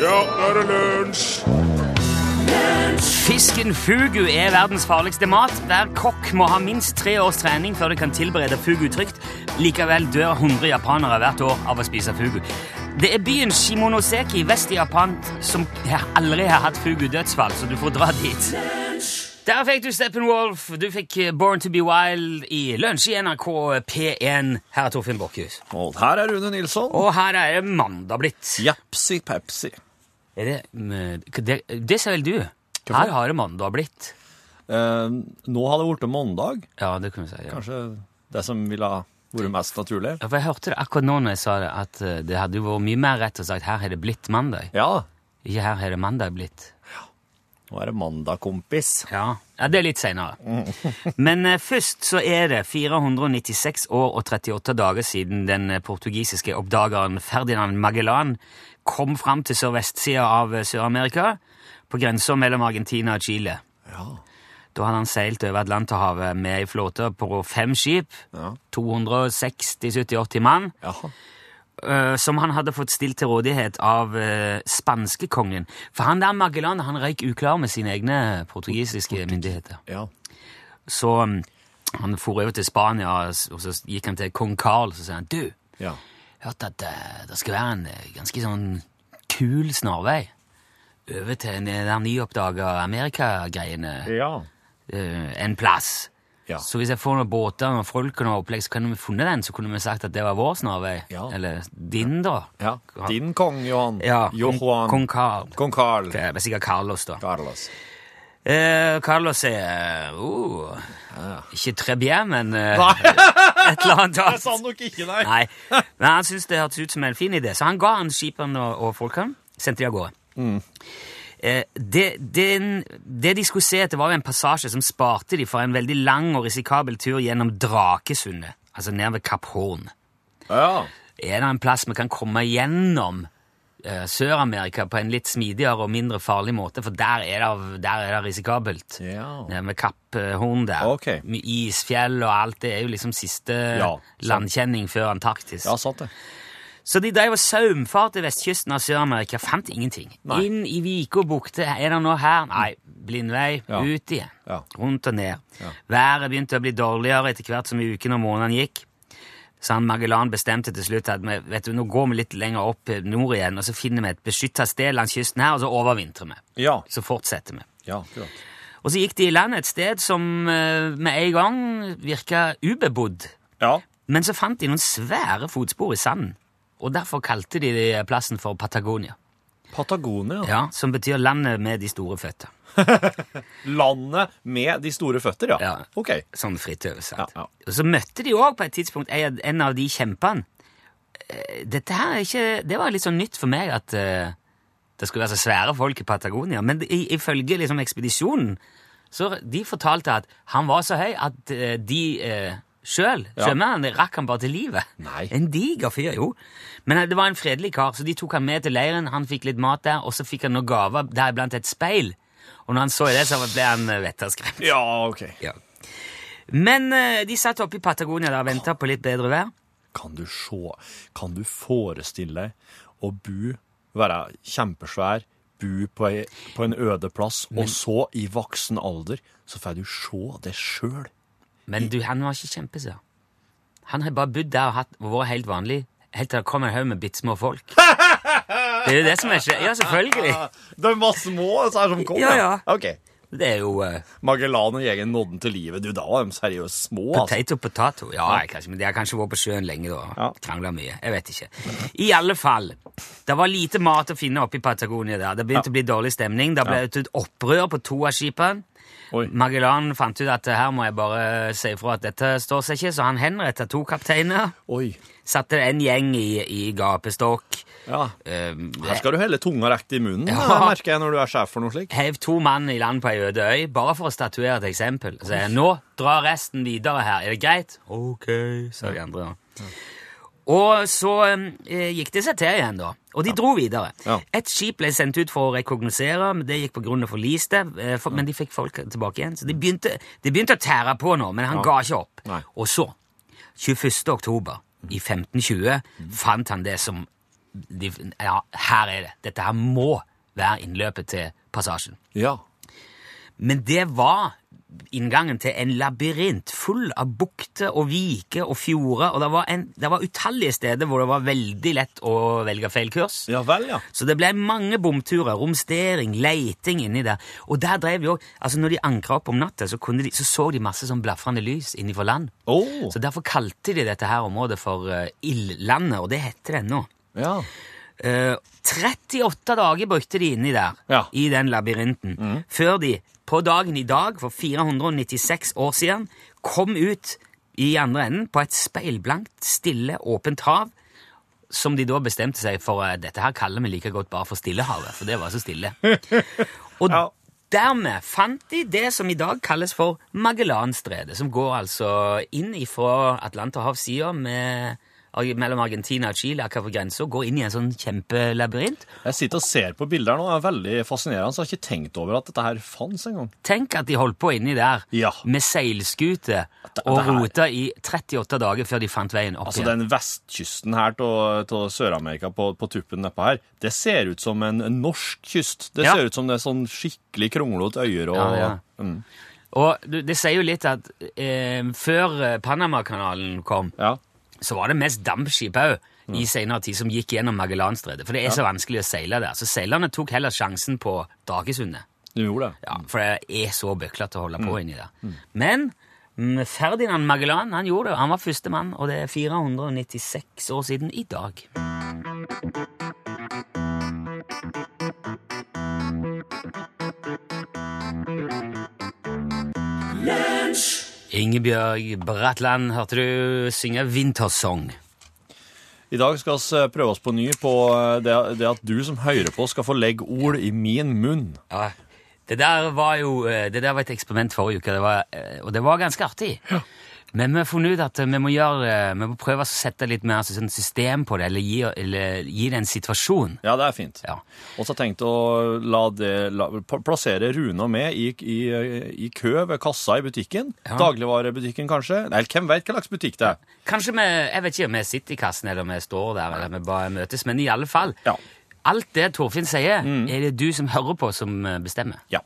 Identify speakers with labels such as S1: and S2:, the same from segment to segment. S1: nå er det lunsj!
S2: Fisken fugu er verdens farligste mat. Hver kokk må ha minst tre års trening før de kan tilberede fugu trygt. Likevel dør 100 japanere hvert år av å spise fugu. Det er byen Shimonoseki vest i Japan som aldri har hatt fugu-dødsfall, så du får dra dit. Der fikk du Steppenwolf, du fikk eh, Born to be Wild i lunsj i NRK P1. Her er Torfinn Borkhus.
S1: Og her er Rune Nilsson.
S2: Og her er det mandag blitt.
S1: Japsi Pepsi.
S2: Er det, men, det, det ser vel du.
S1: Hvorfor?
S2: Her har det mandag blitt.
S1: Eh, nå har det blitt mandag.
S2: Ja, det kunne vi si. Ja.
S1: Kanskje det som ville ha vært mest naturlig.
S2: Ja, for Jeg hørte det akkurat nå når jeg sa det, at eh, det hadde jo vært mye mer rett å sagt her har det blitt mandag.
S1: Ja,
S2: Ikke her har det mandag blitt.
S1: nå er det mandag, kompis.
S2: Ja, ja det er litt seinere. Men eh, først så er det 496 år og 38 dager siden den eh, portugisiske oppdageren Ferdinand Magellan kom fram til sørvestsida av eh, Sør-Amerika, på grensa mellom Argentina og Chile.
S1: Ja.
S2: Da hadde han seilt over Atlanterhavet med ei flåte på fem skip,
S1: Ja.
S2: 260-70-80 mann.
S1: Ja.
S2: eh, som han hadde fått stilt til rådighet av uh, spanskekongen. For han der Magellan han røyk uklar med sine egne portugisiske myndigheter.
S1: ja.
S2: Så mm, han for over til Spania, og s- og så gikk han til kong Carl, så sa han Du,
S1: ja.
S2: hørte at eh, det skal være en eh, ganske sånn kul snarvei over til eh, den der nyoppdaga Amerika-greiene
S1: ja.
S2: eh, en plass.
S1: Ja.
S2: Så hvis jeg får noen båter og folk og noe opplegg, så kunne vi funnet den, så kunne vi sagt at det var vår snarvei.
S1: Ja.
S2: Eller din, da.
S1: ja. Din kong, Johan.
S2: Ja,
S1: Johan.
S2: Kong Carl.
S1: Kong Carl.
S2: Det er sikkert Carlos, da.
S1: Carlos.
S2: Eh, Carlos er uh, Ikke Trebier, men eh, et eller annet
S1: Jeg sa
S2: annet.
S1: nok ikke, nei.
S2: Nei, Men han syntes det hørtes ut som en fin idé, så han ga han skiperen og, og folkene. Sendte de av gårde. Eh, det, den- det de skulle se etter, var jo en passasje som sparte de for en veldig lang og risikabel tur gjennom Drakesundet, altså ned ved Kapp Horn.
S1: Ja.
S2: Er det en plass vi kan komme gjennom eh, Sør-Amerika på en litt smidigere og mindre farlig måte? For der er det, der er det risikabelt.
S1: Ja.
S2: Nede Med Kapphorn der.
S1: Ok.
S2: Med isfjell og alt. Det er jo liksom siste
S1: Ja, sant.
S2: landkjenning før Antarktis.
S1: Ja, sant det.
S2: Så de drev og saumfarte vestkysten av Sør-Amerika. Fant ingenting.
S1: Nei.
S2: Inn i viker og bukter. Er det noe her? Nei. Blindvei.
S1: Ja.
S2: Ut igjen.
S1: Ja.
S2: Rundt og ned. Været begynte å bli dårligere etter hvert som ukene og månedene gikk. Så han Magellan bestemte til slutt at vi, vet du, nå går vi litt lenger opp eh, nord igjen, og så finner vi et beskytta sted langs kysten her, og så overvintrer vi.
S1: Ja.
S2: Så fortsetter vi.
S1: Ja, akkurat.
S2: Og så gikk de i land et sted som eh, med en gang virka ubebodd.
S1: Ja.
S2: Men så fant de noen svære fotspor i sanden, og derfor kalte de det plassen for Patagonia.
S1: Patagonia.
S2: Ja, Som betyr landet med de store føtter.
S1: Landet med de store føtter, ja.
S2: Ja.
S1: Ok.
S2: Sånn fritt oversatt.
S1: Ja, ja.
S2: Og så møtte de òg på et tidspunkt en en av de kjempene. Eh, Dette her er ikke Det var litt sånn nytt for meg at eh, det skulle være så svære folk i Patagonia. Men i- ifølge liksom ekspedisjonen så de fortalte at han var så høy at eh, de eh, sjøl,
S1: Ja.
S2: svømmerne, rakk han bare til livet.
S1: Nei.
S2: En diger fyr, jo. Men eh, det var en fredelig kar, så de tok han med til leiren. Han fikk litt mat der, og så fikk han noen gaver, deriblant et speil. Og når han så i det, så ble han eh, vettskremt.
S1: Ja, ok.
S2: Ja. Men eh, de satt oppe i Patagonia der og venta på litt bedre vær.
S1: Kan du se, kan du forestille deg å bo, være kjempesvær, bo på, ei, på en øde plass, og så i voksen alder, så får du se det sjøl.
S2: Men du, han var ikke kjempesvær. Han har bare bodd der og, hatt, og vært helt vanlig helt til det kom en haug med bittsmå folk. Det er jo det som er skje... Ja, selvfølgelig.
S1: De var små, så er som kom.
S2: Ja, ja.
S1: Ok.
S2: Det er jo eh,
S1: Magellan og gjengen nådde den til livet. Du, da var de seriøst små, altså.
S2: potato potato. Ja, kanskje, men de har kanskje vært på sjøen lenge da.
S1: Ja.
S2: Krangla mye. Jeg vet ikke. I alle fall, det var lite mat å finne oppe i Patagonia der. Det begynte å bli dårlig stemning. Det ble et opprør på to av skipene.
S1: Oi.
S2: Magellan fant ut at eh, her må jeg bare si ifra at dette står seg ikke, så han henretta to kapteiner.
S1: Oi.
S2: Satte en gjeng i, i gapestokk.
S1: Ja.
S2: eh,
S1: Her skal du helle tunga rett i munnen,
S2: Ja.
S1: da, merker jeg, når du er sjef for noe slikt.
S2: Hev to mann i land på ei øde øy, bare for å statuere et eksempel. Så jeg, nå drar resten videre her, er det greit? Ok, sa de andre. da. Og så eh, gikk det seg til igjen, da. Og de dro videre.
S1: Ja.
S2: Et skip ble sendt ut for å rekognosere, men det gikk på grunn av forliste. eh, for- Men de fikk folk tilbake igjen. Så de begynte, de begynte å tære på nå, men han ga ikke opp.
S1: Nei.
S2: Og så, 21. oktober i
S1: Mm.
S2: 1520, fant han det som de, Ja, her er det. Dette her må være innløpet til passasjen.
S1: Ja.
S2: Men det var inngangen til en labyrint full av bukter og viker og fjorder, og det var, en, det var utallige steder hvor det var veldig lett å velge feil kurs.
S1: Ja vel, ja.
S2: Så det ble mange bomturer, romstering, leiting inni der. Og der drev de òg altså Når de ankra opp om natta, så, kunne de, så så de masse sånn blafrende lys innenfor land.
S1: Åh,
S2: Så derfor kalte de dette her området for eh, Ildlandet, og det heter det ennå.
S1: ja.
S2: Eh, 38 dager brukte de inni der,
S1: Ja.
S2: i den labyrinten, før de på dagen i dag, for 496 år siden, kom ut i andre enden på et speilblankt, stille, åpent hav, som de da bestemte seg for eh, dette her kaller vi like godt bare for Stillehavet, for det var så stille. Og
S1: Ja.
S2: dermed fant de det som i dag kalles for Magellanstredet, som går altså inn ifra Atlanterhavssida med mellom Argentina og Chile, akkurat på grensa, går inn i en sånn kjempelabyrint.
S1: Jeg sitter og ser på bilder nå, det er veldig fascinerende, så jeg har ikke tenkt over at dette her fanns engang.
S2: Tenk at de holdt på inni der
S1: Ja.
S2: med seilskute
S1: det
S2: og
S1: her-
S2: rota i 38 dager før de fant veien opp
S1: Altså
S2: igjen.
S1: den vestkysten her til Sør-Amerika på, på tuppen nedpå her, det ser ut som en, en norsk kyst. Det
S2: Ja.
S1: ser ut som det er sånn skikkelig kronglått øyer og...
S2: Ja, ja.
S1: Mm,
S2: Og du- det sier jo litt at eh, før eh, Panamakanalen kom,
S1: ja.
S2: så var det mest dampskip òg i senere tid som gikk gjennom Magellanstredet. For det er så vanskelig å seile der. Så seilerne tok heller sjansen på Dragesundet.
S1: Du gjorde det.
S2: Ja, for det er så bøklete å holde på inni der. Men mm, Ferdinand Magellan han gjorde det. Han var førstemann, og det er 496 år siden i dag. Ingebjørg Bratland hørte du synge Wintersong.
S1: I dag skal vi eh, prøve oss på ny på det, det at du som hører på skal få legge ord i min munn.
S2: Ja, det der var jo eh, Det der var et eksperiment forrige uke, det var, eh, og det var ganske artig. Men vi har funnet ut at eh, vi må, gjøre, eh, vi må prøve å sette litt mer sånn system på det, eller gi, eller gi det en situasjon.
S1: Ja, det er fint.
S2: Ja.
S1: Og så tenkte jeg å la det, la, plassere Rune og meg i, i, i kø ved kassa i butikken.
S2: Ja.
S1: Dagligvarebutikken, kanskje. Nei, hvem vet hva slags butikk det er.
S2: Kanskje vi jeg vet ikke om vi sitter i kassen, eller om vi står der, eller vi bare møtes, men i alle fall
S1: Ja. Mm.
S2: Alt det Torfinn sier, er det du som hører på, som eh, bestemmer.
S1: Ja.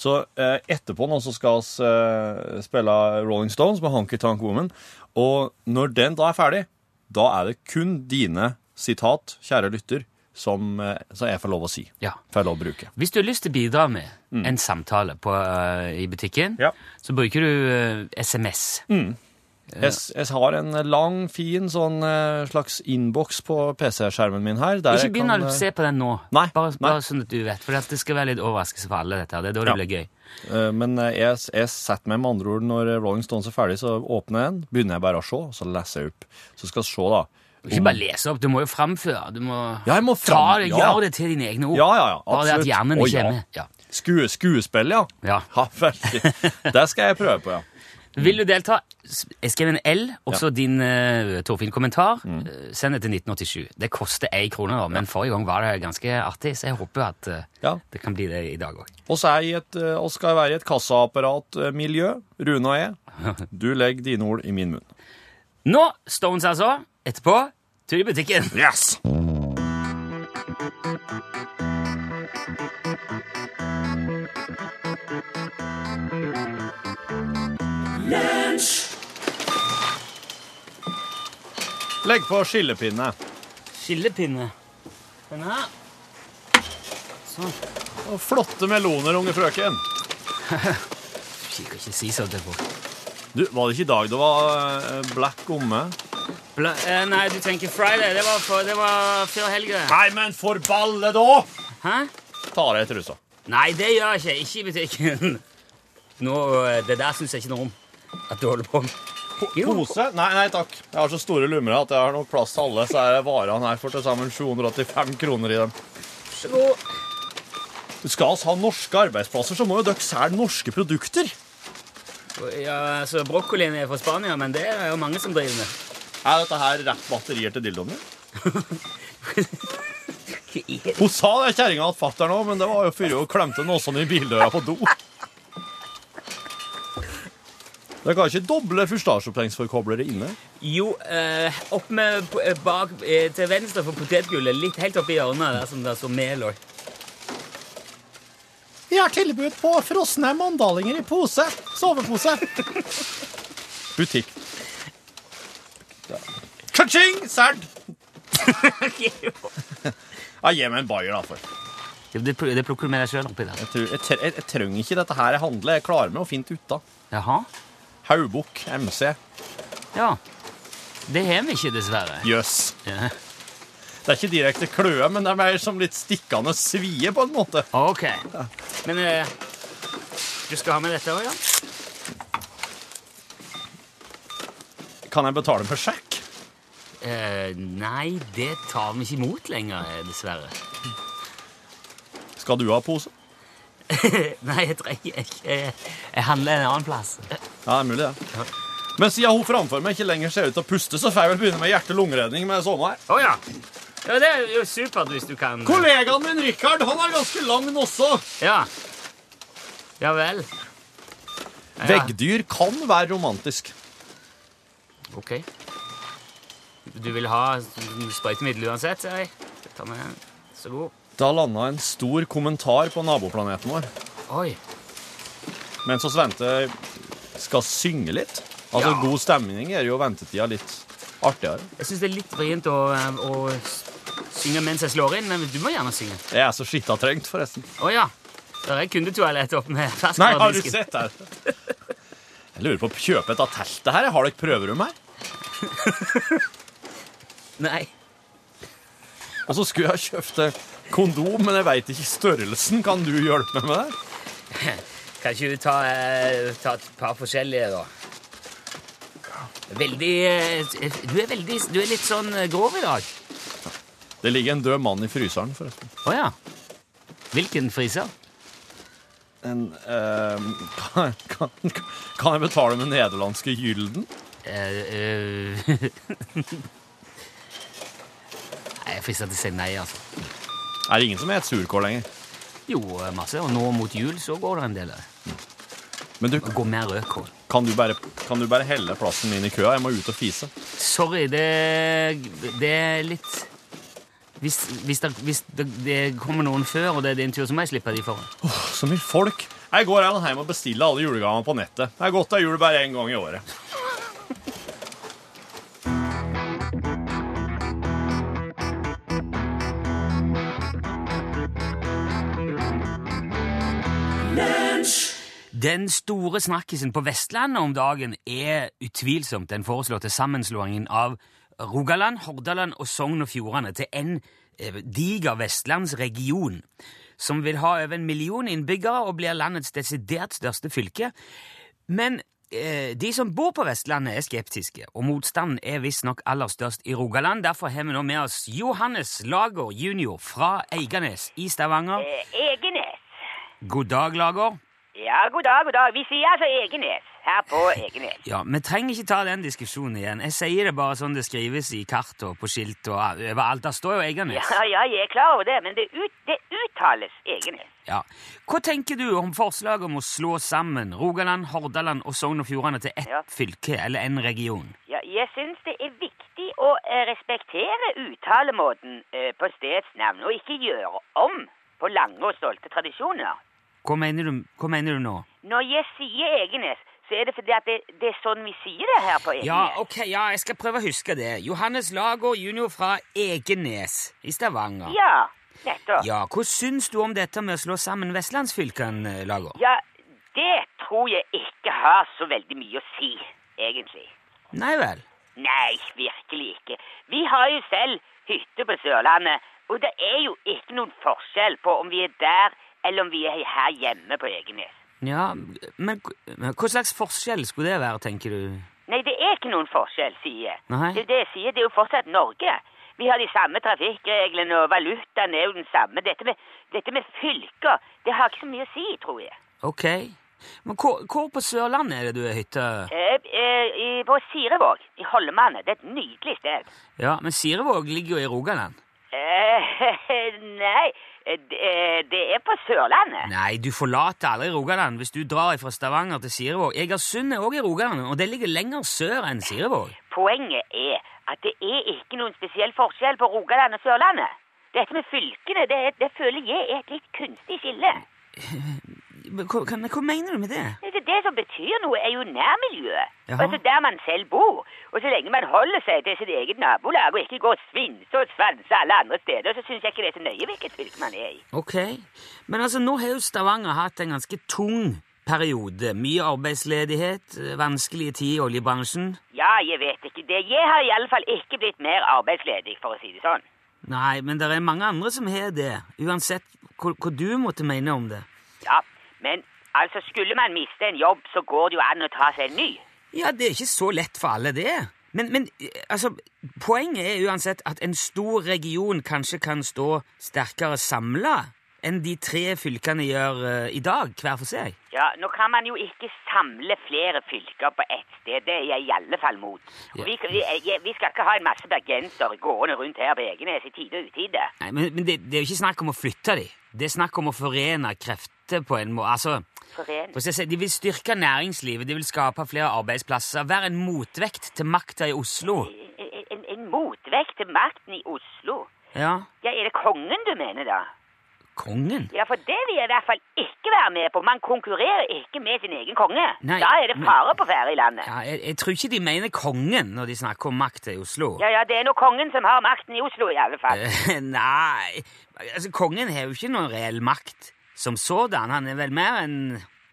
S1: Så eh, etterpå nå så skal vi eh, spille Rolling Stones med Honky Tonk Woman. Og når den da er ferdig, da er det kun dine sitat, kjære lytter, som, eh, som jeg får lov å si.
S2: Ja.
S1: Får jeg lov å bruke.
S2: Hvis du har lyst til å bidra med en samtale på, eh, i butikken,
S1: Mm. Ja.
S2: så bruker du eh, SMS.
S1: Jeg, jeg har en lang, fin sånn eh, slags innboks på PC-skjermen min her. der
S2: Ikke
S1: jeg
S2: begynn
S1: kan,
S2: å
S1: eh,
S2: se på den nå.
S1: Nei,
S2: bare,
S1: nei.
S2: bare sånn at du vet, for at det skal være litt overraskelse for alle. dette her. Det er da det
S1: Ja.
S2: blir gøy.
S1: Eh, Men eh, jeg, jeg setter meg med andre ord når Rolling Stones er ferdig, så åpner jeg den, begynner jeg bare å se, og så leser jeg opp. Så skal vi se, da.
S2: Ikke bare lese opp, du må jo framføre. Du må,
S1: Ja, jeg må
S2: ta
S1: fram-
S2: det,
S1: ja.
S2: Gjør det til dine egne ord.
S1: Ja, ja, ja,
S2: bare det at
S1: absolutt.
S2: hjernen
S1: Å,
S2: ikke
S1: ja.
S2: er med. Ja.
S1: Skue, skuespill, ja.
S2: Ja.
S1: veldig. Det skal jeg prøve på, ja.
S2: Vil du delta, s- skriv en L, og så din uh, Torfinn-kommentar.
S1: Mm.
S2: eh, Send det til 1987. Det koster én krone, da, men forrige gang var det ganske artig, så jeg håper at eh,
S1: Ja.
S2: det kan bli det i dag òg.
S1: Og så er jeg i et, eh, og skal jeg være i et kassaapparatmiljø, Rune og jeg. Du legger dine ord i min munn.
S2: Nå Stones, altså. Etterpå tur i butikken.
S1: Yes! Legg på skillepinne.
S2: Skillepinne. Den her. Sånn.
S1: Og flotte meloner, unge frøken.
S2: Jeg kan ikke si sånn til folk.
S1: Du, Var det ikke i dag det var eh, black omme?
S2: Bla eh, nei, du tenker Friday. Det var, for, det var før helga.
S1: Nei, men for balle, da!
S2: Hæ?
S1: Ta av deg trusa.
S2: Nei, det gjør jeg ikke. Ikke i butikken. Nå, eh, det der syns jeg ikke noe om. At du holder på med. Jo.
S1: Pose? Nei, nei takk. Jeg har så store lumre at jeg har nok plass til alle, så er varene her for til sammen 785 kroner i dem.
S2: Så god.
S1: Skal vi ha norske arbeidsplasser, så må jo dere selge norske produkter.
S2: Ja, altså, Brokkolien er fra Spania, men det er jo mange som driver med.
S1: Er dette her rett batterier til dildoen din?
S2: Hva er det?
S1: Hun sa det kjerringa at fatter'n òg, men det var jo før hun klemte nåsene i bildøra på do. Dere har ikke doble fustasjeopphengsforkoblere inne?
S2: Jo, eh, opp med p- eh, bak eh, til venstre for potetgullet. Litt helt oppi hjørnet der som det står Melor.
S1: har tilbud på frosne mandalinger i pose. Sovepose. Butikk. Ka-ching! Sæd! Ja, gi meg en bayer, da. for.
S2: Det, det, det plukker du med deg sjøl oppi der.
S1: Jeg, tror- jeg, tre- jeg, jeg trenger ikke dette her. Jeg handler. Jeg klarer meg å finne ut av.
S2: Jaha.
S1: Haubukk MC.
S2: Ja. Det har vi ikke, dessverre.
S1: Jøss.
S2: Ja.
S1: Det er ikke direkte kløe, men det er mer som litt stikkende svie, på en måte.
S2: Ok. Men eh, du skal ha med dette òg, ja?
S1: Kan jeg betale med sjekk?
S2: Eh, nei, det tar vi ikke imot lenger, eh, dessverre.
S1: Skal du ha pose?
S2: nei, jeg trenger ikke Jeg, jeg handler en annen plass.
S1: Ja, det er mulig, det. Men siden hun framfor meg ikke lenger ser ut til å puste, så får jeg vel begynne med hjerte-lungeredning med det samme her.
S2: Å ja. ja. Det er jo supert hvis du kan eh,
S1: Kollegaen min Richard, han er ganske lang også.
S2: Ja. Ja vel. Ja,
S1: Veggdyr kan være romantisk.
S2: Ok. Du vil ha sprøytemiddel uansett, sier jeg. Skal ta med den. Så god.
S1: Da landa en stor kommentar på naboplaneten vår
S2: Oi.
S1: mens oss vente skal synge litt. Altså,
S2: Ja.
S1: god stemning gjør jo ventetida litt artigere.
S2: Jeg syns det er litt vrient å, eh, å s- synge mens jeg slår inn, men du må gjerne synge.
S1: Jeg er så skitta trengt, forresten.
S2: Å ja. Der er kundetoalett oppe med
S1: Nei, har du
S2: ferskvaredisken.
S1: sett her? Jeg lurer på å kjøpe et av teltet her. Har dere prøverom her?
S2: Nei.
S1: Og så skulle jeg kjøpt eh, kondom, men jeg veit ikke størrelsen. Kan du hjelpe meg med det?
S2: Kan ikke du ta, eh, ta et par forskjellige, da? Veldig eh, Du er veldig Du er litt sånn eh, grov i dag.
S1: Det ligger en død mann i fryseren, forresten.
S2: Å ja. Hvilken friser?
S1: En, eh, kan, kan, kan jeg betale med nederlandske gylden?
S2: Eh, eh, Nei, jeg frister til å si nei, altså.
S1: Er det ingen som heter surkål lenger?
S2: Jo, eh, masse. Og nå mot jul så går det en del der.
S1: Men du,
S2: Det går mer rødkål.
S1: kan du, bare, kan du bare helle plassen min i køa? Jeg må ut og fise.
S2: Sorry, det, det er litt Hvis, hvis, det, hvis det, det kommer noen før, og det er din tur, så må jeg slippe de foran.
S1: Så mye folk. Jeg går an hjem og bestiller alle julegavene på nettet. Jeg har gått av jul bare én gang i året.
S2: Den store snakkisen på Vestlandet om dagen er utvilsomt den foreslåtte sammenslåingen av Rogaland, Hordaland og Sogn og Fjordane til en eh, diger vestlandsregion, som vil ha over en million innbyggere og blir landets desidert største fylke. Men eh, de som bor på Vestlandet, er skeptiske, og motstanden er visstnok aller størst i Rogaland. Derfor har vi nå med oss Johannes Lager jr. fra Eiganes i Stavanger.
S3: Eh, Egenes.
S2: God dag, Lager.
S3: Ja, god dag, god dag. Vi sier altså Egenes her på Egenes.
S2: Ja, Vi trenger ikke ta den diskusjonen igjen. Jeg sier det bare sånn det skrives i kart og på skilt og a- overalt. Der står jo Eiganes.
S3: Ja, ja, jeg er klar over det, men det, ut, det uttales Egenes.
S2: Ja. Hva tenker du om forslaget om å slå sammen Rogaland, Hordaland og Sogn og Fjordane til ett
S3: Ja.
S2: fylke eller en region?
S3: Ja, jeg syns det er viktig å eh, respektere uttalemåten eh, på stedsnavn, og ikke gjøre om på lange og stolte tradisjoner.
S2: Hva mener du, hva mener du nå?
S3: Når jeg sier Egenes, så er det fordi at det, det er sånn vi sier det her på Egenes.
S2: Ja, ok, ja, jeg skal prøve å huske det. Johannes Lager jr. fra Egenes i Stavanger.
S3: Ja, nettopp.
S2: Ja, Hva syns du om dette med å slå sammen vestlandsfylkene, Lager?
S3: ja, det tror jeg ikke har så veldig mye å si, egentlig.
S2: Nei vel?
S3: Nei, virkelig ikke. Vi har jo selv hytte på Sørlandet, og det er jo ikke noen forskjell på om vi er der eller om vi er her hjemme på Egenes.
S2: Ja, men k- men hva slags forskjell skulle det være, tenker du?
S3: Nei, det er ikke noen forskjell, sier jeg.
S2: Nei.
S3: Det er jo det jeg sier, det er jo fortsatt Norge. Vi har de samme trafikkreglene, og valutaen er jo den samme. Dette med, dette med fylker, det har ikke så mye å si, tror jeg.
S2: Ok. Men hvor, hvor på Sørlandet er det du er hytte?
S3: Eh, eh, i- på Sirevåg, i Holmane, det er et nydelig sted.
S2: Ja, men Sirevåg ligger jo i Rogaland.
S3: Eh, nei, eh, det eh, det er på Sørlandet.
S2: Nei, du forlater aldri Rogaland hvis du drar fra Stavanger til Sirevåg. Egersund er også i Rogaland, og det ligger lenger sør enn Sirevåg.
S3: Poenget er at det er ikke noen spesiell forskjell på Rogaland og Sørlandet. Dette med fylkene, det, det føler jeg er et litt kunstig skille.
S2: Hva, hva, men hva mener du med det?
S3: Det, det som betyr noe, er jo nærmiljøet.
S2: Jaha.
S3: Altså der man selv bor. Og så lenge man holder seg til sitt eget nabolag og ikke går og svinser og svanser alle andre steder, så syns jeg ikke det er så nøye hvilket fylke man er i.
S2: Ok. Men altså, nå har jo Stavanger hatt en ganske tung periode. Mye arbeidsledighet, eh, vanskelige tider i oljebransjen.
S3: Ja, jeg vet ikke det. Jeg har iallfall ikke blitt mer arbeidsledig, for å si det sånn.
S2: Nei, men det er mange andre som har det, uansett hva, hva du måtte mene om det.
S3: Ja, men altså skulle man miste en jobb, så går det jo an å ta seg en ny.
S2: Ja, det er ikke så lett for alle det. Men, men eh, altså, poenget er uansett at en stor region kanskje kan stå sterkere samla enn de tre fylkene gjør eh, i dag, hver for seg.
S3: Ja, nå kan man jo ikke samle flere fylker på ett sted. Det er jeg i alle fall mot. Og
S2: Ja.
S3: vi, vi, jeg, vi skal ikke ha en masse bergensere gående rundt her på Egenes i tide og utide.
S2: Nei, Men, men det, det er jo ikke snakk om å flytte dem. Det er snakk om å forene krefter på en måte. Altså,
S3: Foren.
S2: For å si- sånn, De vil styrke næringslivet, de vil skape flere arbeidsplasser, være en motvekt til makta i Oslo.
S3: En, en, en motvekt til makten i Oslo.
S2: Ja,
S3: Ja, er det kongen du mener, da?
S2: kongen?
S3: Ja, for det vil jeg i hvert fall ikke være med på. Man konkurrerer ikke med sin egen konge.
S2: Nei,
S3: da er det
S2: men-
S3: fare på ferde i landet.
S2: Ja, jeg, jeg tror ikke de mener kongen når de snakker om makta i Oslo.
S3: Ja, ja, det er nå kongen som har makten i Oslo, i alle fall.
S2: Eh, Nei, altså kongen har jo ikke noen reell makt som sådan. Han er vel mer en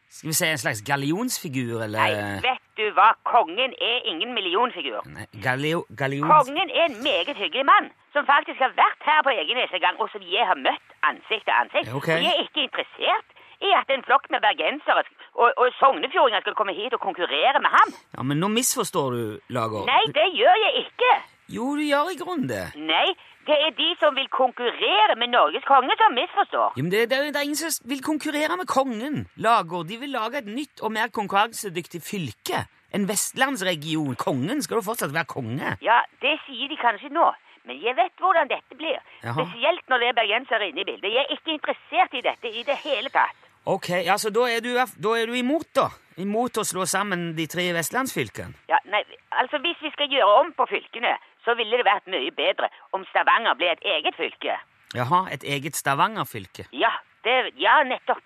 S2: skal vi si, en slags gallionsfigur, eller
S3: Nei, vet du hva? Kongen er ingen millionfigur.
S2: Nei, gallio, Eh, gallions...
S3: Kongen er en meget hyggelig mann, som faktisk har vært her på Egenes en gang, og som jeg har møtt ansikt til ansikt.
S2: Ok.
S3: Og jeg er ikke interessert i at en flokk med bergensere sk- og, og sognefjordinger skal komme hit og konkurrere med ham.
S2: Ja, men nå misforstår du, Lager.
S3: Nei, det gjør jeg ikke.
S2: Jo, du gjør i grunnen det.
S3: Nei, det er de som vil konkurrere med Norges konge som misforstår.
S2: Jo, men det, det, er jo- det er ingen som vil konkurrere med kongen. Lager, de vil lage et nytt og mer konkurransedyktig fylke. En vestlandsregion. Kongen skal jo fortsatt være konge.
S3: Ja, det sier de kanskje nå. Men jeg vet hvordan dette blir.
S2: Jaha.
S3: Spesielt når det er bergensere inne i bildet. Jeg er ikke interessert i dette i det hele tatt.
S2: Ok, ja, så da er du, da er du imot, da? Imot å slå sammen de tre vestlandsfylkene?
S3: Ja, nei, altså Hvis vi skal gjøre om på fylkene, så ville det vært mye bedre om Stavanger ble et eget fylke.
S2: Jaha, et eget Stavanger-fylke.
S3: Ja, det, ja nettopp.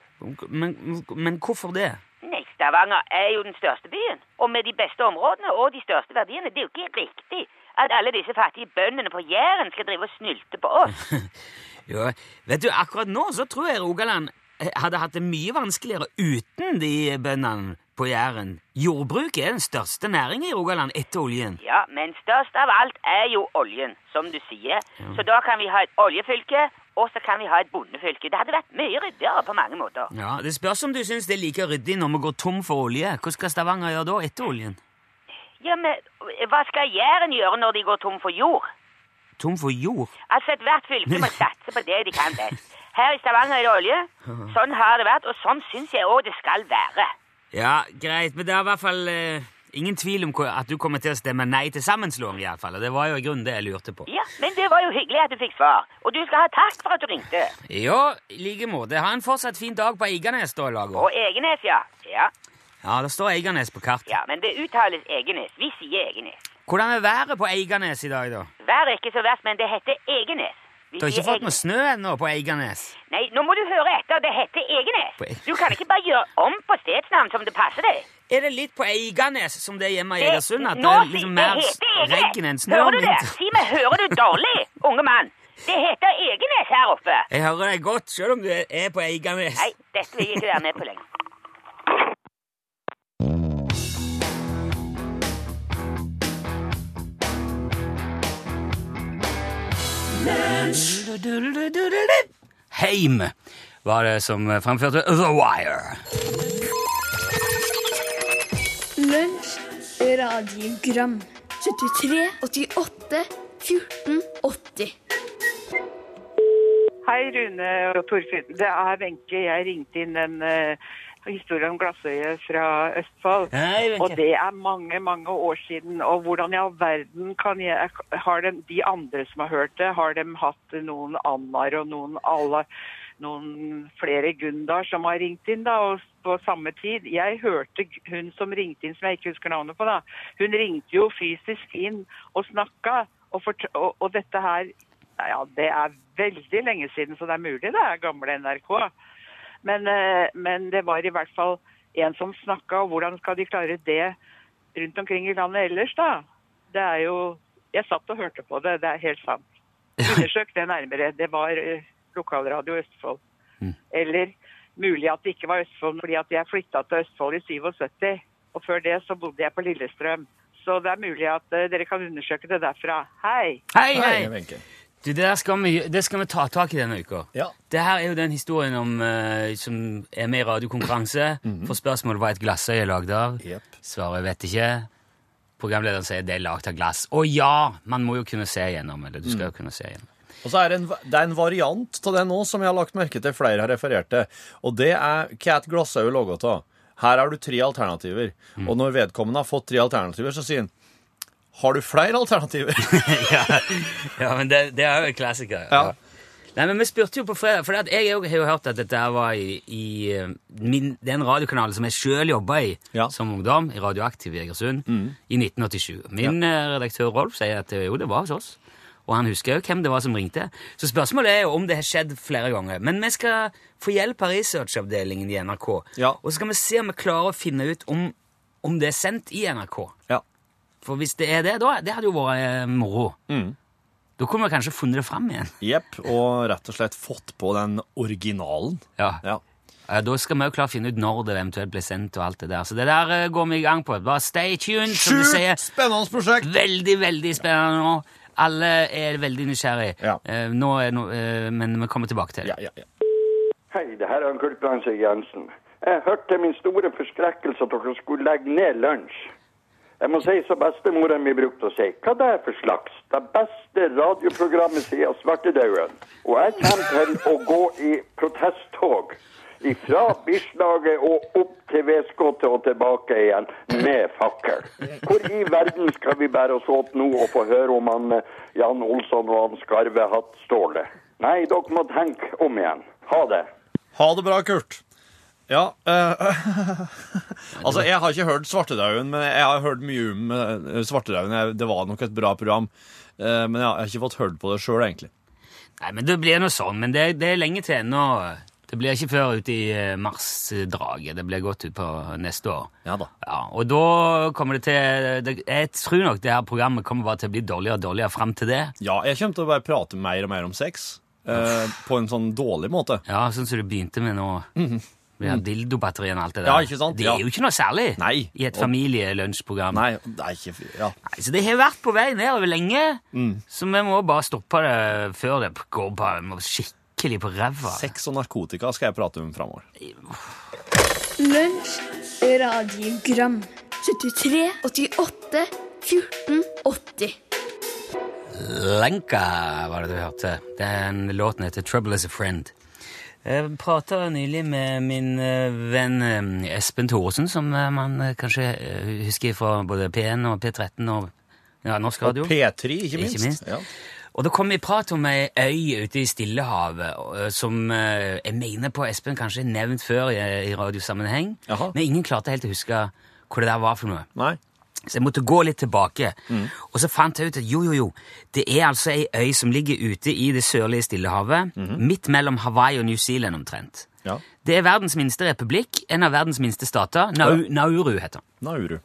S2: Men, men hvorfor det?
S3: Nei, Stavanger er jo den største byen. Og med de beste områdene og de største verdiene. Det er jo ikke riktig at alle disse fattige bøndene på Jæren skal drive og snylte på oss.
S2: Jo, vet du, akkurat nå så tror jeg Rogaland eh, hadde hatt det mye vanskeligere uten de bøndene på Jæren. Jordbruket er den største næringen i Rogaland etter oljen.
S3: Ja, men størst av alt er jo oljen, som du sier. Så da kan vi ha et oljefylke, og så kan vi ha et bondefylke. Det hadde vært mye ryddigere på mange måter.
S2: Ja, Det spørs om du syns det er like ryddig når vi går tom for olje. Hva skal Stavanger gjøre da, etter oljen?
S3: Ja, men hva skal Jæren gjøre når de går tom for jord?
S2: Tom for jord?
S3: Altså, ethvert fylke må satse på det de kan best. Her i Stavanger er det olje. Sånn har det vært, og sånn syns jeg òg det skal være.
S2: Ja, greit, men det er i hvert fall eh, ingen tvil om hva- at du kommer til å stemme nei til sammenslåing, i hvert fall. Og det var jo i grunnen det jeg lurte på.
S3: Ja, Men det var jo hyggelig at du fikk svar. Og du skal ha takk for at du ringte.
S2: Ja, i like måte. Ha en fortsatt fin dag på Eiganes, da, Lager.
S3: Og Egenes, ja. Ja,
S2: Ja, det står Eiganes på kartet.
S3: ja men det uttales Egenes. Vi sier Egenes.
S2: Hvordan er været på Eiganes i dag, da?
S3: Vær ikke så verst, men det heter Egenes. Vi
S2: Du har ikke
S3: sier
S2: fått noe
S3: Egenes.
S2: snø ennå på Eiganes?
S3: Nei, nå må du høre etter. Det heter Egenes.
S2: På E- Egenes.
S3: Du kan ikke bare gjøre om på stedsnavn som det passer deg.
S2: Er det litt på Eiganes som det er hjemme i
S3: Det-
S2: Egersund? At det
S3: nå
S2: er
S3: si-
S2: liksom
S3: det
S2: mer
S3: heter Egenes.
S2: regn enn snø?
S3: Hører du
S2: om
S3: det?
S2: vinteren?
S3: Si meg, hører du dårlig, unge mann? Det heter Egenes her oppe.
S2: Jeg hører deg godt, selv om du er på Eiganes.
S3: Nei, dette vil jeg ikke være med på lenger.
S2: Heim var det som fremførte The Wire.
S4: Lunsj, radiogram 73, 88, 14, 80
S5: Hei, Rune og Torfinn. Det er Wenche. Jeg ringte inn en eh, historie om Glassøyet fra Østfold.
S2: Hei, Wenche.
S5: Og det er mange, mange år siden. Og hvordan i all verden kan jeg Har dem, de andre som har hørt det, har de hatt noen Annar og noen alle noen flere Gundar som har ringt inn da, og på samme tid. Jeg hørte g- hun som ringte inn, som jeg ikke husker navnet på da, hun ringte jo fysisk inn og snakka, og, fort- og, og dette her, ja, det er veldig lenge siden, så det er mulig det er gamle NRK. Men, eh, men det var i hvert fall en som snakka, og hvordan skal de klare det rundt omkring i landet ellers, da? Det er jo Jeg satt og hørte på det, det er helt sant. Undersøk det nærmere. Det var eh, lokalradio Østfold. Eller mulig at det ikke var Østfold, fordi at jeg flytta til Østfold i 77. Og før det så bodde jeg på Lillestrøm. Så det er mulig at eh, dere kan undersøke det derfra. Hei!
S2: Hei,
S1: Hei,
S2: hei!
S1: Wenche.
S2: Du, det, der skal vi, det skal vi ta tak i denne uka.
S1: Ja.
S2: Det her er jo den historien om, eh, som er med i radiokonkurranse. For spørsmålet var et glassøye er lagd av.
S1: Mhm. Jep.
S2: Svaret vet ikke. Programlederen sier det er lagd av glass. Å ja! Man må jo kunne se igjennom. Eller du skal jo
S1: Mm.
S2: kunne se igjennom.
S1: Og så er det, en, det er en variant av det nå som jeg har lagt merke til flere har referert til, og det er hva et glassøye er laget av. Her har du tre alternativer, og når vedkommende har fått tre alternativer, så sier han har du flere alternativer?
S2: Ja, men det, det er jo en klassiker.
S1: Ja.
S2: Nei, men Vi spurte jo på fredag, for jeg jo- har jo hørt at dette her var i, i eh, min, den radiokanalen som jeg sjøl jobba i
S1: Ja. Mm.
S2: som ungdom, i Radioaktiv i Egersund, i 1987. Min eh, redaktør Rolf sier at eh, jo, det var hos oss. Og han husker jo hvem det var som ringte. Så spørsmålet er jo om det har skjedd flere ganger. Men vi skal få hjelp av researchavdelingen i NRK.
S1: Ja.
S2: Og så skal vi se om vi klarer å finne ut om, om det er sendt i NRK.
S1: Ja.
S2: For hvis det er det, da, det hadde jo vært eh, moro.
S1: Mm.
S2: Da kunne vi kanskje funnet det fram igjen.
S1: Jepp, og rett og slett fått på den originalen.
S2: Ja.
S1: Ja.
S2: Eh, Da skal vi jo klart finne ut når det eventuelt ble sendt og alt det der. Så det der eh, går vi i gang på. Bare stay tuned, som du sier.
S1: Sjukt spennende prosjekt!
S2: Veldig, veldig spennende nå. Alle er veldig nysgjerrige.
S1: Ja.
S2: Eh, Nå er no, eh, men vi kommer tilbake til det.
S1: Ja, ja, ja.
S6: Hei, det her er Kurt Brandtzæg Jensen. Jeg hørte til min store forskrekkelse at dere skulle legge ned lunsj. Jeg må si som bestemora mi brukte å si, hva det er for slags? Det beste radioprogrammet siden svartedauden. Og jeg kommer til å gå i protesttog. Fra Bislaget og opp til Veskottet og tilbake igjen med fakkel. Hvor i verden skal vi bære oss åt nå og få høre om han eh, Jan Olsson og han skarve hatt Ståle? Nei, dere må tenke om igjen. Ha det.
S1: Ha det bra, Kurt. Ja, eh, altså jeg har ikke hørt Svartedauden, men jeg har hørt mye om eh, Svartedauden. Jeg- Det var nok et bra program, eh, men jeg har ikke fått hørt på det sjøl, egentlig.
S2: Nei, men Det blir noe sånn, men det, det er lenge til ennå. Det blir ikke før ut i eh, mars-draget. Det blir godt ut på neste år.
S1: Ja da.
S2: Ja, og da kommer det til det, Jeg tror nok det her programmet kommer bare til å bli dårligere og dårligere fram til det.
S1: Ja, jeg kommer til å bare prate mer og mer om sex. eh, på en sånn dårlig måte.
S2: Ja, Sånn som du begynte med nå. Med mm. dildobatteriene og alt det der.
S1: Mhm. Ja, ikke sant?
S2: Det
S1: Ja.
S2: er jo ikke noe særlig
S1: Nei.
S2: i et
S1: Og-
S2: familielunsjprogram.
S1: Nei, det er ikke f- Ja.
S2: Nei, Så det har vært på vei nedover lenge,
S1: Mm.
S2: så vi må bare stoppe det før det går bare skikkelig på ræva.
S1: Sex og narkotika skal jeg prate om framover.
S4: Lunsj, radiogram 73, 88, 14, 80
S2: Lenka var det du hørte. Den låten heter Trouble Is A Friend. Jeg prata nylig med min eh, venn eh, Espen Thoresen, som eh, man eh, kanskje eh, husker fra både P1 og P13 og ja, norsk radio.
S1: Og P3, ikke minst.
S2: Ikke minst.
S1: Ja.
S2: Og da kom vi i prat om ei øy ute i Stillehavet eh, som eh, jeg mener på Espen kanskje er nevnt før i, i radiosammenheng,
S1: Jaha.
S2: men ingen klarte helt å huske hva det der var for noe.
S1: Nei.
S2: Så jeg måtte gå litt tilbake.
S1: Mm.
S2: Og så fant jeg ut at jo, jo, jo, det er altså ei øy som ligger ute i det sørlige Stillehavet,
S1: Mhm.
S2: midt mellom Hawaii og New Zealand omtrent.
S1: Ja.
S2: Det er verdens minste republikk, en av verdens minste stater. Nau Nauru heter den
S1: Nauru.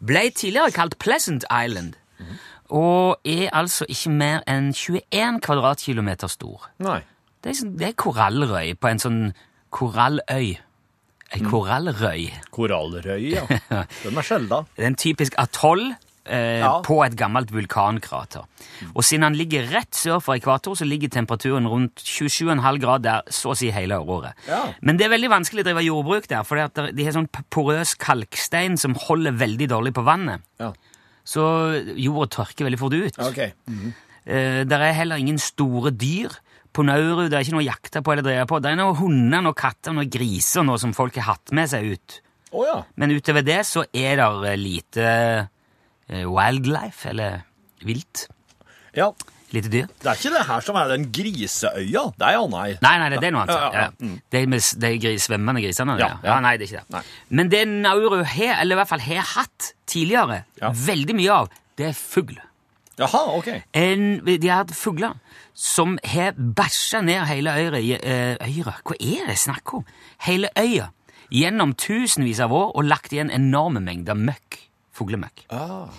S2: ble tidligere kalt Pleasant Island, og er altså ikke mer enn 21 kvadratkilometer stor.
S1: Nei.
S2: Det er, sånn- det er korallrøy på en sånn koralløy. Ei
S1: Mm.
S2: korallrøy.
S1: Korallrøy, ja. Den er skjelda.
S2: Det er en typisk atoll eh,
S1: Ja. Mm.
S2: på et gammelt vulkankrater. Og siden han ligger rett sør for ekvator, så ligger temperaturen rundt 27,5 grad der så å si hele året.
S1: Ja.
S2: Men det er veldig vanskelig å drive jordbruk der, for de har sånn porøs kalkstein som holder veldig dårlig på vannet.
S1: Ja.
S2: Så jorda tørker veldig fort ut.
S1: OK.
S2: Eh, der er heller ingen store dyr på Nauru. Det er ikke noe å jakte på eller dreie på. Det er noen hunder, noen katter, noen griser noe som folk har hatt med seg ut.
S1: Å ja.
S2: Men utover det så er det lite eh, wildlife, eller vilt.
S1: ja.
S2: Lite dyr.
S1: Det er ikke det her som er den griseøya. Det er ja, nei.
S2: Nei, nei, det, det er noe annet.
S1: Ja,
S2: Ja,
S1: ja, ja.
S2: Det er med s- de gris, svømmende grisene. Ja,
S1: Ja,
S2: ja.
S1: ja.
S2: nei, det er ikke det.
S1: Nei.
S2: Men det Nauru har, eller i hvert fall har hatt tidligere,
S1: Ja.
S2: veldig mye av, det er fugl.
S1: Jaha, ok.
S2: En, de har hatt fugler som har bæsja ned hele øyra, i- eh, øyra Hva er det snakk om? Hele øya. Gjennom tusenvis av år og lagt igjen enorme mengder møkk. Fuglemøkk.
S1: Ah,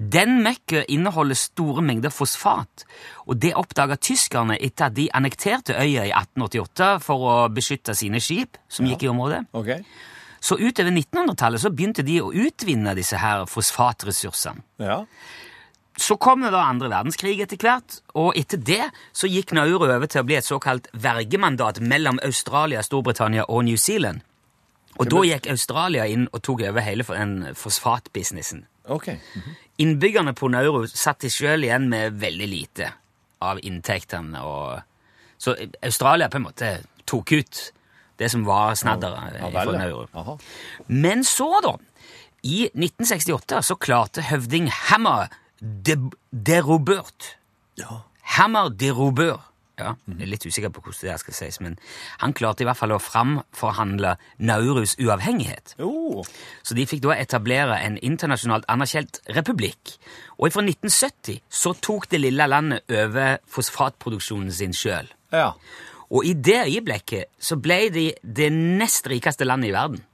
S2: Den møkka inneholder store mengder fosfat, og det oppdaga tyskerne etter at de annekterte øya i 1888 for å beskytte sine skip som gikk i området.
S1: ok.
S2: Så utover 1900-tallet så begynte de å utvinne disse her fosfatressursene.
S1: Ja.
S2: Så kom det da andre verdenskrig etter hvert, og etter det så gikk Nauru over til å bli et såkalt vergemandat mellom Australia, Storbritannia og New Zealand. Og da gikk Australia inn og tok over hele for- den fosfatbusinessen.
S1: Ok.
S2: Innbyggerne på Nauru satt de sjøl igjen med veldig lite av inntektene og Så Australia på en måte tok ut det som var snadderet
S1: Ja
S2: for
S1: vel,
S2: Nauru.
S1: Aha.
S2: Men så, da, i 1968, så klarte høvding Hammer de, de Robert
S1: Ja.
S2: Hammer de Robert ja, jeg er litt usikker på hvordan det her skal sies, men han klarte i hvert fall å framforhandle Naurus uavhengighet.
S1: Jo.
S2: Så de fikk da etablere en internasjonalt anerkjent republikk. Og fra 1970 så tok det lille landet over fosfatproduksjonen sin sjøl.
S1: Ja.
S2: Og i det øyeblikket så ble de det nest rikeste landet i verden.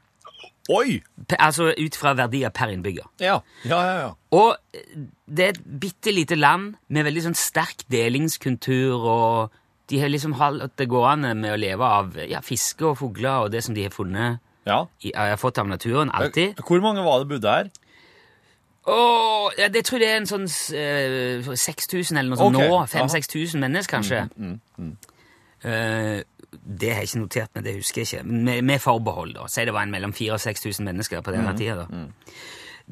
S1: Oi!
S2: Pe- Altså ut fra verdier per innbygger.
S1: Ja, ja, ja. ja.
S2: Og eh, det er et bitte lite land med veldig sånn sterk delingskultur, og de har liksom holdt det gående med å leve av ja, fiske og fugler og det som de har funnet
S1: ja.
S2: i, har fått av naturen, alltid.
S1: Hvor mange var det bodde her?
S2: Og ja, det tror jeg det er en sånn eh, 6000 eller noe sånt
S1: Ok, Mm,
S2: nå.
S1: aha.
S2: 5000-6000 mennesker, kanskje. Eh, det har jeg ikke notert, men det husker jeg ikke. Men Med, med forbehold, da. Si det var en mellom 4000 og 6000 mennesker på
S1: Mm,
S2: denne tida. da.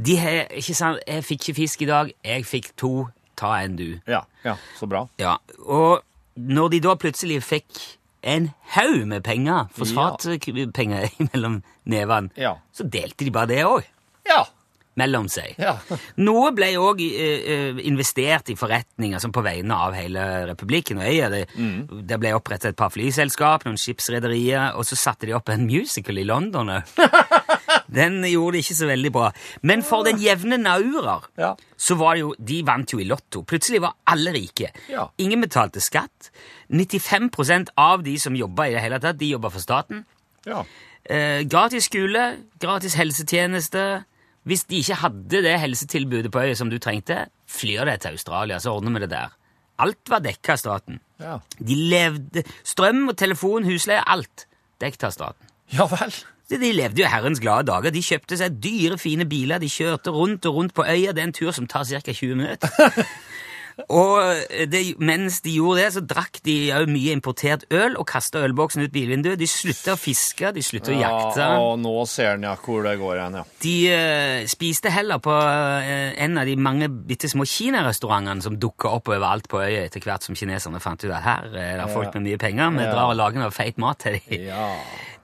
S2: De har ikke sant Jeg fikk ikke fisk i dag. Jeg fikk to. Ta en, du.
S1: Ja, ja, så bra.
S2: Ja, og når de da plutselig fikk en haug med penger, fosfatpenger mellom nevene,
S1: Ja.
S2: så delte de bare det òg
S1: Ja.
S2: mellom seg.
S1: Ja.
S2: Noe ble òg investert i forretninger som på vegne av hele republikken og øya. Det,
S1: Mm.
S2: det ble opprettet et par flyselskap, noen skipsrederier, og så satte de opp en musical i London. også. den gjorde det ikke så veldig bra. Men for den jevne naurer
S1: Ja.
S2: så var det jo De vant jo i Lotto. Plutselig var alle rike.
S1: Ja.
S2: Ingen betalte skatt. 95 av de som jobba i det hele tatt, de jobba for staten.
S1: Ja.
S2: Eh, gratis skole, gratis helsetjeneste. Hvis de ikke hadde det helsetilbudet på øya som du trengte, flyr det til Australia, så ordner vi det der. Alt var dekka av staten.
S1: Ja.
S2: De levde Strøm og telefon, husleie, alt dekket av staten.
S1: Ja vel.
S2: Så De levde jo herrens glade dager. De kjøpte seg dyre, fine biler. De kjørte rundt og rundt på øya. Det er en tur som tar ca. 20 minutter. og eh, det, mens de gjorde det, så drakk de òg mye importert øl og kasta ølboksen ut bilvinduet. De slutta å fiske, de slutta å jakte.
S1: Ja, og nå ser en ja hvor det går hen, ja.
S2: De eh, spiste heller på eh, en av de mange bitte små kinarestaurantene som dukka opp overalt på øya etter hvert som kineserne fant ut at her eh, er det folk med mye penger, vi
S1: Ja.
S2: drar og lager noe feit mat til dem.
S1: Ja.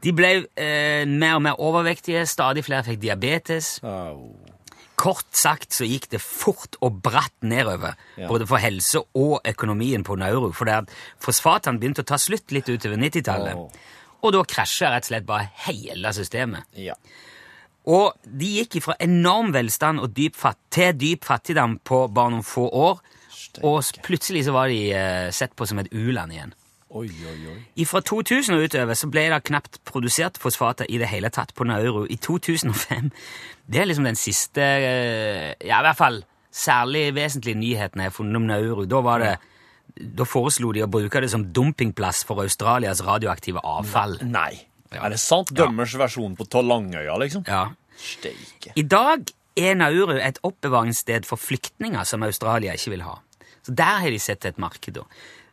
S2: De ble eh, mer og mer overvektige, stadig flere fikk diabetes.
S1: Au.
S2: Kort sagt så gikk det fort og bratt nedover,
S1: Ja.
S2: både for helse og økonomien på Nauru, for der fosfatene begynte å ta slutt litt utover 90-tallet.
S1: Åh.
S2: Og da krasja rett og slett bare hele systemet.
S1: Ja.
S2: Og de gikk fra enorm velstand og dyp fatt, til dyp fattigdom på bare noen få år. Og s- plutselig så var de eh, sett på som et u-land igjen.
S1: Oi, oi, oi.
S2: Fra 2000 og utover så ble det knapt produsert fosfater i det hele tatt på Nauru. I 2005 Det er liksom den siste eh, Ja, i hvert fall særlig vesentlige nyheten jeg har funnet om Nauru. Da var det da foreslo de å bruke det som dumpingplass for Australias radioaktive avfall.
S1: Nei. Er det sant? Dømmers versjon på Ta Langøya, liksom?
S2: Ja,
S1: Steike.
S2: I dag er Nauru et oppbevaringssted for flyktninger som Australia ikke vil ha. Så Der har de sett et marked. da.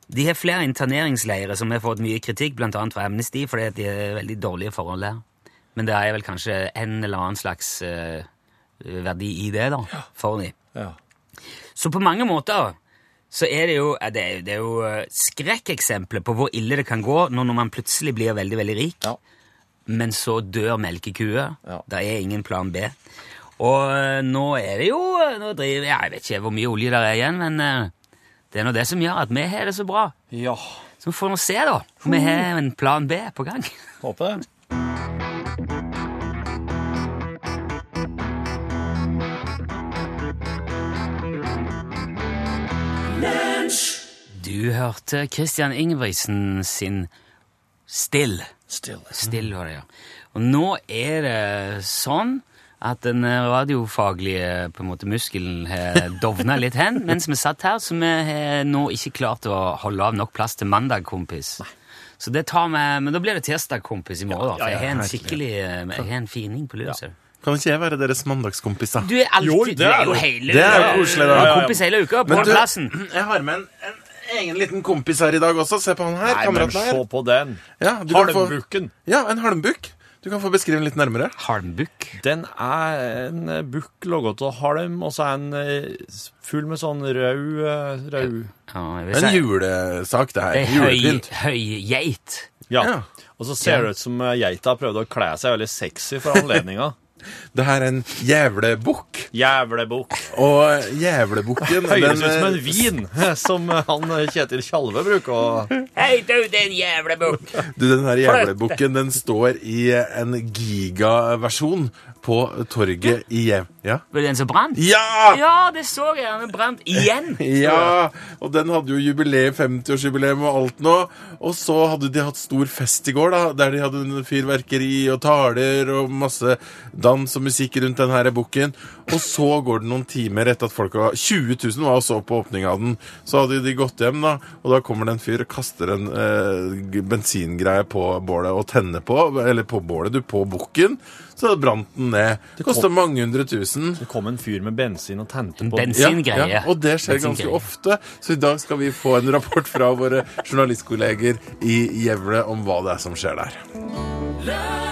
S2: De har flere interneringsleirer som har fått mye kritikk, bl.a. fra Amnesty, fordi at de har veldig dårlige forhold der. Men det er vel kanskje en eller annen slags eh, verdi i det da, for dem.
S1: Ja.
S2: Så på mange måter så er det jo, eh, det er, det er jo eh, skrekkeksempler på hvor ille det kan gå når når man plutselig blir veldig, veldig rik,
S1: Ja.
S2: men så dør melkekua.
S1: Ja.
S2: Det er ingen plan B. Og eh, nå er det jo eh, nå driver, ja, Jeg vet ikke hvor mye olje der er igjen, men eh, det er nå det som gjør at vi har det så bra.
S1: ja.
S2: Så vi får nå se, da. om Vi har en plan B på gang.
S1: Håper det.
S2: Du hørte Christian Ingebrigtsen sin Still.
S1: Still.
S2: Still var det, ja. Og nå er det sånn at den radiofaglige på en måte, muskelen har dovna litt hen mens vi satt her, så vi har nå ikke klart å holde av nok plass til mandag, kompis. Så det tar vi, Men da blir det tirsdag, kompis, i morgen. da,
S1: Ja,
S2: for
S1: ja, ja,
S2: jeg har en
S1: virkelig.
S2: skikkelig, eh, jeg har en fining på løs.
S7: Kan ikke jeg være deres mandagskompiser?
S2: Du er alltid
S1: Jo, det
S2: Du er
S1: er
S2: jo
S1: jo-
S2: hele
S7: det er jo
S2: du er
S7: koselig, da.
S2: Kompis hele uka, på
S7: Men du,
S2: plassen.
S7: jeg har med en, en egen liten kompis her i dag også. Se på han her.
S1: Nei, men
S7: kameraten her.
S1: se på den.
S7: Ja, du kan få-
S1: Halmbukken.
S7: Ja, en halmbukk. Du kan få beskrive den litt nærmere.
S2: Halmbukk.
S1: Den er en eh, bukk laget av halm, og så er den eh, full med sånn rød eh, rød.
S2: Ja, jeg vil
S7: En
S2: si-
S7: julesak, det
S2: Ei
S7: her.
S2: høy-
S7: Julepynt.
S2: høygeit.
S1: Ja.
S7: Ja.
S1: Og så ser det ut som eh, geita har prøvd å kle seg veldig sexy for anledninga.
S7: Det her er en jævlebukk.
S1: Jævlebukk.
S7: Og jævlebukken
S1: Høres ut som en
S7: eh,
S1: vin, som eh, han eh, Kjetil Tjalve bruker å
S2: Hei, du, din jævlebukk!
S7: Du, den her jævlebukken den står i en gigaversjon på torget i Jev... Ja.
S2: Var det den som brant?
S7: Ja!
S2: Ja, det så jeg. Den brant igjen.
S7: Ja, og den hadde jo jubileum, 50-årsjubileum og alt nå. Og så hadde de hatt stor fest i går, da, der de hadde en fyrverkeri og taler og masse dans og musikk rundt den her bukken. Og så går det noen timer etter at folk var 20 000 var og så på åpninga av den. Så hadde de gått hjem, da, og da kommer det en fyr og kaster en eh, g- bensingreie på bålet og tenner på, eller på bålet, du, på bukken. Så brant den ned. Det kosta mange hundre tusen.
S1: Det kom en fyr med bensin og tente
S2: En
S1: på den.
S2: bensin- sin greie.
S7: Og det skjer
S2: Det er sin
S7: ganske
S2: greie.
S7: ofte, så i dag skal vi få en rapport fra våre journalistkolleger i Gjevle om hva det er som skjer der.
S8: Lunsj,